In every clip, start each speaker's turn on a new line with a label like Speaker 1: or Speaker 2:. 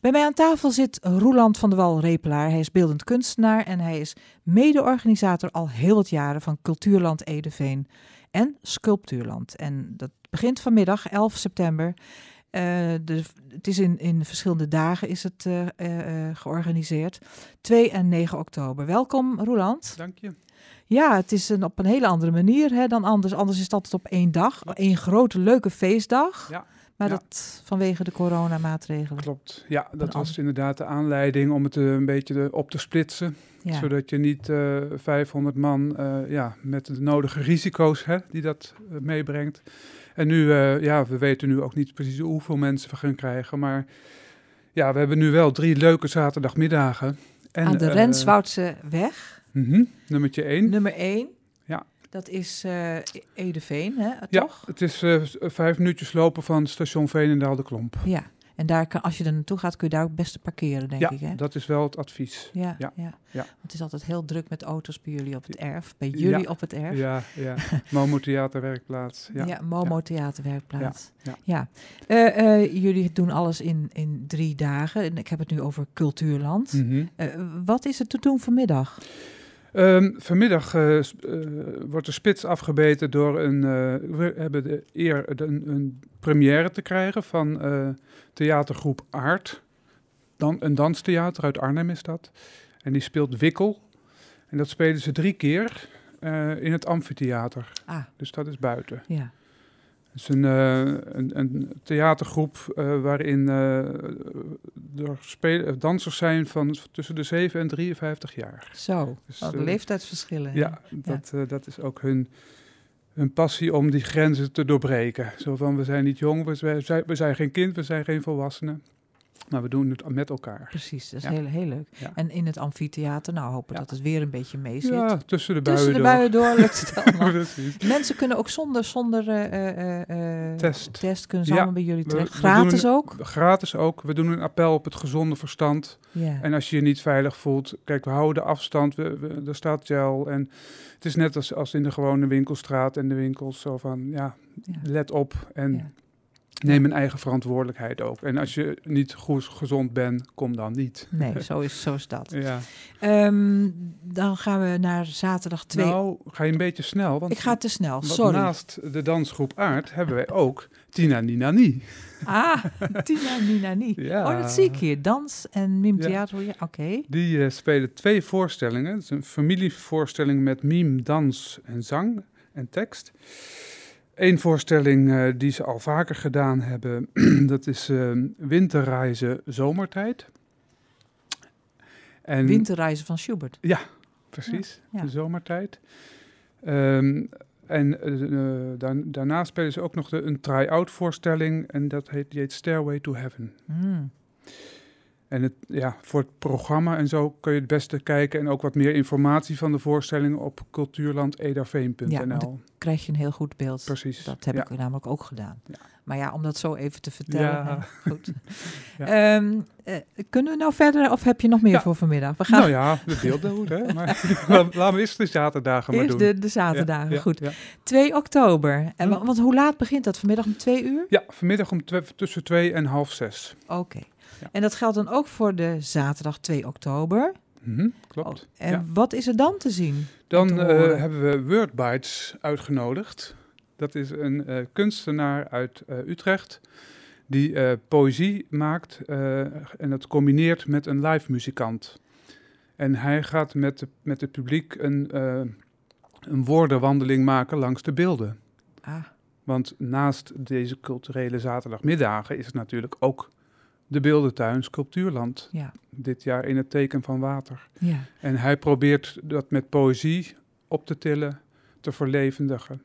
Speaker 1: Bij mij aan tafel zit Roeland van de Wal-Repelaar. Hij is beeldend kunstenaar en hij is mede-organisator al heel wat jaren van Cultuurland Edeveen en Sculptuurland. En dat begint vanmiddag, 11 september. Eh, de, het is in, in verschillende dagen is het eh, eh, eh, georganiseerd. 2 en 9 oktober. Welkom, Roeland.
Speaker 2: Dank je.
Speaker 1: Ja, het is een, op een hele andere manier hè, dan anders. Anders is het altijd op één dag.
Speaker 2: Klopt.
Speaker 1: Één grote, leuke feestdag.
Speaker 2: Ja,
Speaker 1: Maar
Speaker 2: ja.
Speaker 1: dat vanwege de coronamaatregelen.
Speaker 2: Klopt. Ja, dat
Speaker 1: Een
Speaker 2: was inderdaad de aanleiding om het eh, een beetje eh, op te splitsen.
Speaker 1: Ja.
Speaker 2: Zodat je niet eh, 500 man eh, ja, met de nodige risico's hè, die dat eh, meebrengt. En nu, eh, ja, we weten nu ook niet precies hoeveel mensen we gaan krijgen. Maar ja, we hebben nu wel drie leuke zaterdagmiddagen. En,
Speaker 1: Aan de
Speaker 2: eh,
Speaker 1: Renswoudse weg,
Speaker 2: mhm, nummertje 1.
Speaker 1: nummer 1.
Speaker 2: Ja.
Speaker 1: Dat is eh, Edeveen, hè,
Speaker 2: Ja,
Speaker 1: toch?
Speaker 2: het is eh, s- vijf minuutjes lopen van station Veenendaal de Klomp.
Speaker 1: Ja. En daar kan, als je er naartoe gaat, kun je daar ook best parkeren, denk
Speaker 2: ja,
Speaker 1: ik. Hè?
Speaker 2: dat is wel het advies.
Speaker 1: Ja, ja,
Speaker 2: ja, ja.
Speaker 1: Want het is altijd heel druk met auto's bij jullie op het erf. Bij
Speaker 2: Ja,
Speaker 1: jullie op het erf.
Speaker 2: Ja, ja. Momo Theaterwerkplaats.
Speaker 1: Ja,
Speaker 2: Ja.
Speaker 1: Momo Theaterwerkplaats. Ja.
Speaker 2: Ja,
Speaker 1: Eh, eh, jullie doen alles in, in drie dagen. En ik heb het nu over cultuurland.
Speaker 2: Mhm.
Speaker 1: Eh, wat is er te doen vanmiddag?
Speaker 2: Ehm, vanmiddag eh, sp- eh, wordt de spits afgebeten door een. eh, we hebben de eer eh, de- een, een première te krijgen van eh, theatergroep Aard. Dan, een danstheater uit Arnhem is dat. En die speelt Wikkel. En dat spelen ze drie keer eh, in het amfitheater.
Speaker 1: Ah,
Speaker 2: Dus dat is buiten.
Speaker 1: ja.
Speaker 2: Het is een, eh, een, een theatergroep eh, waarin eh, er spelen, dansers zijn van tussen de 7 en 53 jaar.
Speaker 1: Zo.
Speaker 2: Dus,
Speaker 1: Wat
Speaker 2: eh,
Speaker 1: leeftijdsverschillen. hè?
Speaker 2: Ja, dat, eh, dat is ook hun, hun passie om die grenzen te doorbreken. Zo van, we zijn niet jong, we zijn, we zijn- we zijn geen kind, we zijn geen volwassenen. Maar we doen het met elkaar.
Speaker 1: Precies, dat is
Speaker 2: Ja.
Speaker 1: heel, heel leuk.
Speaker 2: Ja.
Speaker 1: En in het amfitheater, nou hopen
Speaker 2: Ja.
Speaker 1: dat het weer een beetje mee zit.
Speaker 2: Ja, tussen de buien
Speaker 1: Tussen de buien door lukt het
Speaker 2: door.
Speaker 1: allemaal.
Speaker 2: Precies.
Speaker 1: Mensen kunnen ook zonder, zonder eh, eh, eh, eh,
Speaker 2: Test.
Speaker 1: kunnen ze
Speaker 2: Ja,
Speaker 1: allemaal bij jullie
Speaker 2: we-
Speaker 1: terecht.
Speaker 2: we
Speaker 1: Gratis ook.
Speaker 2: Gratis ook. We doen een appel op het gezonde verstand.
Speaker 1: Ja.
Speaker 2: En als je je niet veilig voelt, kijk, we houden de afstand, we, we, er staat gel. En het is net als, als in de gewone winkelstraat en de winkels, zo van, ja,
Speaker 1: Ja.
Speaker 2: let op en
Speaker 1: Ja.
Speaker 2: neem een eigen verantwoordelijkheid ook. En als je niet goed, gezond bent, kom dan niet.
Speaker 1: Nee, zo is, zo is dat.
Speaker 2: Ja.
Speaker 1: Ehm, dan gaan we naar zaterdag 2.
Speaker 2: Nou, ga je een beetje snel, want
Speaker 1: ik ga te snel,
Speaker 2: want
Speaker 1: sorry.
Speaker 2: naast de dansgroep Aard hebben wij ook Tina Nina Nie.
Speaker 1: Ah, Tina Minani.
Speaker 2: Ja.
Speaker 1: Oh, dat zie ik hier. Dans en mime
Speaker 2: Ja.
Speaker 1: theater. Ja, Oké.
Speaker 2: Die eh, spelen twee voorstellingen. Het is een familievoorstelling met mime, dans en zang en tekst. Eén voorstelling eh, die ze al vaker gedaan hebben, dat is eh, Winterreizen Zomertijd. En,
Speaker 1: Winterreizen van Schubert.
Speaker 2: Precies,
Speaker 1: Ja, ja.
Speaker 2: de zomertijd. Ehm, en eh, eh, daar- daarna spelen ze ook nog de, een try-out voorstelling en dat heet, die heet Stairway to Heaven.
Speaker 1: Hmm.
Speaker 2: En het, ja, voor het programma en zo kun je het beste kijken en ook wat meer informatie van de voorstelling op cultuurlandederveen.nl.
Speaker 1: Ja, want Krijg je een heel goed beeld.
Speaker 2: Precies.
Speaker 1: Dat heb
Speaker 2: ja.
Speaker 1: ik namelijk ook gedaan.
Speaker 2: Ja.
Speaker 1: Maar ja, om dat zo even te vertellen.
Speaker 2: Ja.
Speaker 1: hè, Goed.
Speaker 2: Ja.
Speaker 1: Ehm, eh, kunnen we nou verder of heb je nog meer
Speaker 2: Ja.
Speaker 1: voor vanmiddag? We gaan
Speaker 2: Nou ja, de beelden goed, hè? Maar laat- laten we eerst de zaterdagen maar
Speaker 1: eerst
Speaker 2: doen.
Speaker 1: de, de zaterdagen.
Speaker 2: Ja,
Speaker 1: Goed.
Speaker 2: Ja,
Speaker 1: 2 oktober. En, wa-
Speaker 2: Hm.
Speaker 1: want hoe laat begint dat? Vanmiddag om twee uur?
Speaker 2: Ja, vanmiddag om twe- tussen twee en half zes.
Speaker 1: Oké.
Speaker 2: Ja.
Speaker 1: En dat geldt dan ook voor de zaterdag 2 oktober.
Speaker 2: Mhm, klopt.
Speaker 1: Oh, en
Speaker 2: ja.
Speaker 1: wat is er dan te zien?
Speaker 2: Dan
Speaker 1: te
Speaker 2: eh,
Speaker 1: horen.
Speaker 2: hebben we Wordbites uitgenodigd. Dat is een eh, kunstenaar uit eh, Utrecht die eh, poëzie maakt eh, en dat combineert met een live muzikant. En hij gaat met, de- met het publiek een, eh, een woordenwandeling maken langs de beelden.
Speaker 1: Ah,
Speaker 2: Want naast deze culturele zaterdagmiddagen is het natuurlijk ook de beeldentuin Sculptuurland.
Speaker 1: ja.
Speaker 2: Dit jaar in het teken van water.
Speaker 1: ja.
Speaker 2: En hij probeert dat met poëzie op te tillen, te verlevendigen.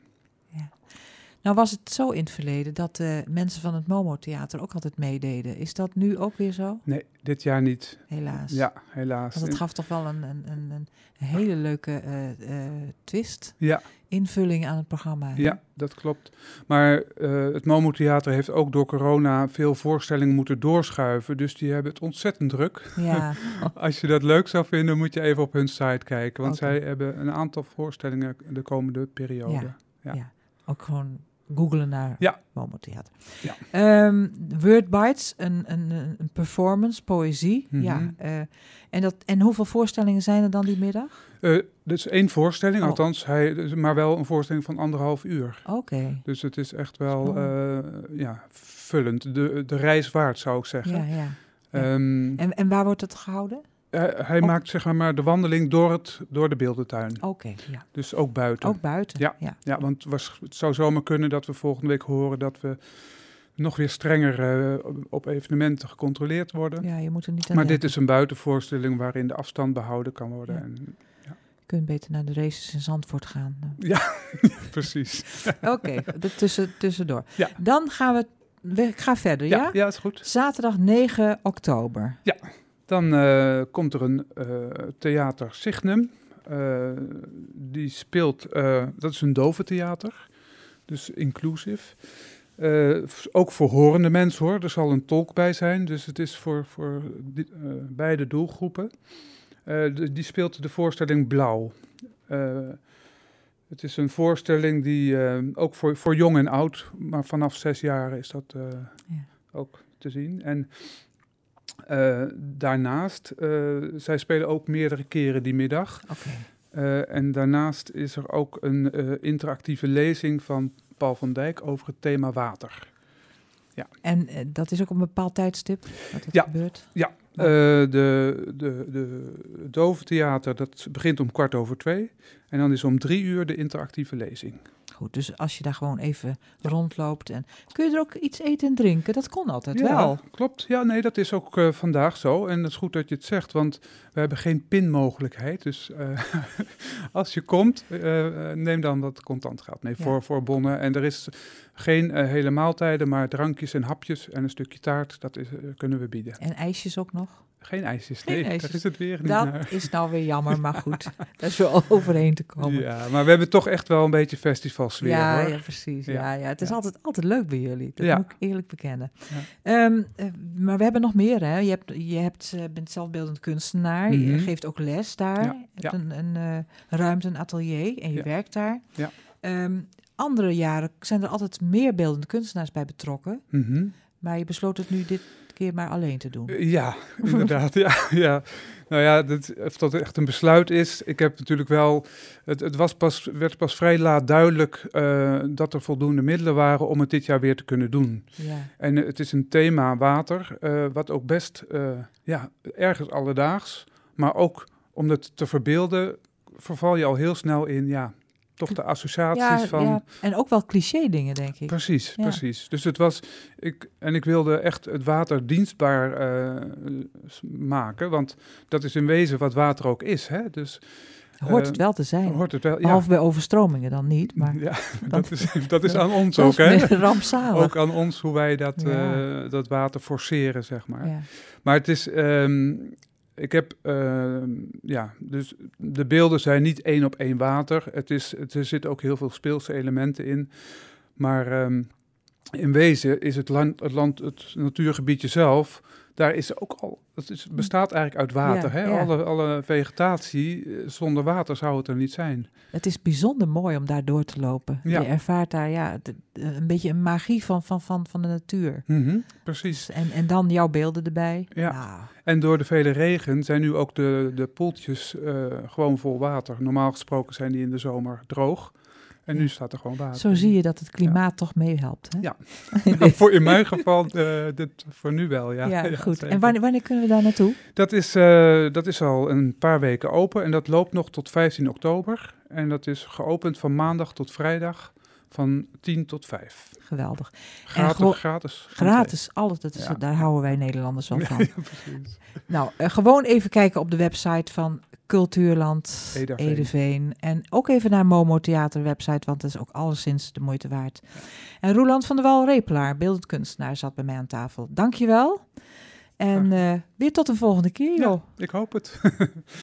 Speaker 1: Nou was het zo in het verleden dat eh, mensen van het Momo Theater ook altijd meededen. Is dat nu ook weer zo?
Speaker 2: Nee, dit jaar niet.
Speaker 1: Helaas.
Speaker 2: Ja, helaas.
Speaker 1: Want het Dus gaf toch wel een, een, een, een hele leuke eh, eh, twist,
Speaker 2: Ja,
Speaker 1: invulling aan het programma. hè?
Speaker 2: ja, dat klopt. Maar eh, het Momo Theater heeft ook door corona veel voorstellingen moeten doorschuiven. Dus die hebben het ontzettend druk.
Speaker 1: Ja,
Speaker 2: Als je dat leuk zou vinden, moet je even op hun site kijken. Want
Speaker 1: Oh. Oké.
Speaker 2: zij hebben een aantal voorstellingen de komende periode.
Speaker 1: ook gewoon googelen naar
Speaker 2: Ja.
Speaker 1: Momo Theater.
Speaker 2: Ja.
Speaker 1: Ehm, Word Bites, een, een, een een performance, poëzie.
Speaker 2: Mhm.
Speaker 1: ja, eh, en, dat, en hoeveel voorstellingen zijn er dan die middag?
Speaker 2: Eh, dat is één voorstelling,
Speaker 1: Oh.
Speaker 2: althans, hij, dus- maar wel een voorstelling van anderhalf uur.
Speaker 1: Oké.
Speaker 2: Dus het is echt wel
Speaker 1: Spannend.
Speaker 2: eh, ja, vullend. De, de reis waard, zou ik zeggen.
Speaker 1: Ja, ja.
Speaker 2: Ehm,
Speaker 1: En, en waar wordt het gehouden?
Speaker 2: hij hij
Speaker 1: op-
Speaker 2: maakt zeg maar de wandeling door, het, door de beeldentuin.
Speaker 1: Oké, ja.
Speaker 2: Dus ook buiten.
Speaker 1: Ook buiten. ja.
Speaker 2: Ja, want was, het zou zomaar kunnen dat we volgende week horen dat we nog weer strenger eh, op- op evenementen gecontroleerd worden.
Speaker 1: Ja, je moet er niet aan
Speaker 2: maar
Speaker 1: denken.
Speaker 2: dit is een buitenvoorstelling waarin de afstand behouden kan worden.
Speaker 1: Ja.
Speaker 2: En,
Speaker 1: Je kunt beter naar de races in Zandvoort gaan. Eh,
Speaker 2: precies.
Speaker 1: Oké, dat tussen, tussendoor.
Speaker 2: Ja.
Speaker 1: Dan gaan we, we- ik ga verder, ja?
Speaker 2: Ja, ja, is goed.
Speaker 1: Zaterdag 9 oktober.
Speaker 2: Dan eh, komt er een eh, theater Signum. Eh, die speelt, eh, dat is een dove theater, dus inclusief. Eh, f- ook voor horende mensen hoor, er zal een tolk bij zijn, dus het is voor, voor di- eh, beide doelgroepen. Eh, de- die speelt de voorstelling Blauw. Eh, het is een voorstelling die eh, ook voor, voor jong en oud, maar vanaf zes jaar is dat eh,
Speaker 1: Ja.
Speaker 2: ook te zien. En eh, daarnaast, eh, zij spelen ook meerdere keren die middag.
Speaker 1: Oké.
Speaker 2: Eh, en daarnaast is er ook een eh, interactieve lezing van Paul van Dijk over het thema water.
Speaker 1: En eh, dat is ook op een bepaald tijdstip dat het
Speaker 2: Ja.
Speaker 1: gebeurt?
Speaker 2: Eh, de, de, de Doventheater, dat begint om kwart over twee. En dan is om drie uur de interactieve lezing.
Speaker 1: Goed, dus als je daar gewoon even rondloopt en... Kun je er ook iets eten en drinken? Dat kon altijd
Speaker 2: Ja,
Speaker 1: wel.
Speaker 2: Klopt, ja, nee, dat is ook eh, vandaag zo. En dat is goed dat je het zegt, want we hebben geen pinmogelijkheid. Dus eh, als je komt, eh, eh, neem dan wat contant geld mee
Speaker 1: Ja.
Speaker 2: voor, voor bonnen. En er is geen eh, hele maaltijden, maar drankjes en hapjes en een stukje taart, dat is, eh, kunnen we bieden.
Speaker 1: En ijsjes ook nog?
Speaker 2: Geen ijsjes,
Speaker 1: Geen
Speaker 2: nee, daar
Speaker 1: ijsjes.
Speaker 2: is het weer niet naar.
Speaker 1: Dat is nou weer jammer, maar goed. Daar is wel overheen te komen.
Speaker 2: Ja, maar we hebben toch echt wel een beetje festivalsfeer,
Speaker 1: ja,
Speaker 2: hoor.
Speaker 1: ja, precies. Ja.
Speaker 2: Ja.
Speaker 1: Ja, Het is
Speaker 2: Ja.
Speaker 1: Altijd, altijd leuk bij jullie. Dat
Speaker 2: Ja.
Speaker 1: moet ik eerlijk bekennen. Ehm, eh, maar we hebben nog meer. Hè? Je, hebt, je hebt, eh, bent zelfbeeldend kunstenaar. Je
Speaker 2: Mhm.
Speaker 1: geeft ook les daar.
Speaker 2: Ja,
Speaker 1: Je hebt
Speaker 2: ja.
Speaker 1: een, een eh, ruimte, een atelier. En je
Speaker 2: Ja.
Speaker 1: werkt daar.
Speaker 2: Ja.
Speaker 1: Ehm, andere jaren zijn er altijd meer beeldend kunstenaars bij betrokken.
Speaker 2: Mhm.
Speaker 1: Maar je besloot het nu dit keer maar alleen te doen.
Speaker 2: Eh, Ja, inderdaad. ja, ja. Nou ja, dat, of dat echt een besluit is. Ik heb natuurlijk wel. Het, het was pas, werd pas vrij laat duidelijk eh, dat er voldoende middelen waren om het dit jaar weer te kunnen doen.
Speaker 1: Ja.
Speaker 2: En eh, het is een thema water, eh, wat ook best eh, ja, ergens alledaags. Maar ook om het te verbeelden, verval je al heel snel in ja, toch de associaties
Speaker 1: Ja,
Speaker 2: van.
Speaker 1: ja. En ook wel cliché dingen, denk ik.
Speaker 2: Precies,
Speaker 1: Ja.
Speaker 2: precies. Dus het was, ik, en ik wilde echt het water dienstbaar eh, s- maken, want dat is in wezen wat water ook is. Hè? Dus
Speaker 1: Hoort
Speaker 2: eh,
Speaker 1: het wel te zijn.
Speaker 2: hoort het wel. Ja,
Speaker 1: Behalve bij overstromingen dan niet. Maar
Speaker 2: ja
Speaker 1: dat-
Speaker 2: dat, is, dat is aan ons
Speaker 1: dat
Speaker 2: ook,
Speaker 1: is
Speaker 2: hè?
Speaker 1: meer rampzalig.
Speaker 2: Ook aan ons hoe wij dat,
Speaker 1: Ja.
Speaker 2: eh, dat water forceren, zeg maar.
Speaker 1: Ja.
Speaker 2: Maar het is, ehm, ik heb, ehm, ja, dus de beelden zijn niet één op één water. Het is, het, er zitten ook heel veel speelse elementen in. Maar ehm, in wezen is het land, het land, het natuurgebiedje zelf, daar is ook al, het is, bestaat eigenlijk uit water.
Speaker 1: Ja,
Speaker 2: hè?
Speaker 1: ja.
Speaker 2: Alle, alle vegetatie, eh, zonder water zou het er niet zijn.
Speaker 1: Het is bijzonder mooi om daar door te lopen.
Speaker 2: Ja.
Speaker 1: Je ervaart daar ja, de- de- een beetje een magie van, van, van, van de natuur.
Speaker 2: Precies.
Speaker 1: En, en dan jouw beelden erbij.
Speaker 2: Ja.
Speaker 1: Nou,
Speaker 2: En door de vele regen zijn nu ook de, de poeltjes eh, gewoon vol water. Normaal gesproken zijn die in de zomer droog. En nu
Speaker 1: Ja.
Speaker 2: staat er gewoon water.
Speaker 1: zo
Speaker 2: in.
Speaker 1: zie je dat het klimaat toch meehelpt. Hè?
Speaker 2: Ja.
Speaker 1: In dit-
Speaker 2: voor in mijn geval, eh, dit, voor nu wel, ja.
Speaker 1: ja, goed.
Speaker 2: zeker.
Speaker 1: en wanneer, wanneer kunnen we daar naartoe?
Speaker 2: Dat is, eh, dat is al een paar weken open en dat loopt nog tot 15 oktober. En dat is geopend van maandag tot vrijdag van 10 tot 5.
Speaker 1: Geweldig. gewoon-
Speaker 2: Gratis, gratis.
Speaker 1: Gratis, alles. Dat is,
Speaker 2: Ja.
Speaker 1: Daar houden wij Nederlanders wel van.
Speaker 2: Ja, precies.
Speaker 1: Nou, eh, gewoon even kijken op de website van Cultuurland Edeveen.
Speaker 2: Edeveen.
Speaker 1: En ook even naar Momo Theater website, want dat is ook alleszins de moeite waard. En Roeland van der Wal Repelaar, beeldend kunstenaar, zat bij mij aan tafel. Dankjewel. En eh, weer tot de volgende keer,
Speaker 2: Ja.
Speaker 1: joh.
Speaker 2: Ik hoop het.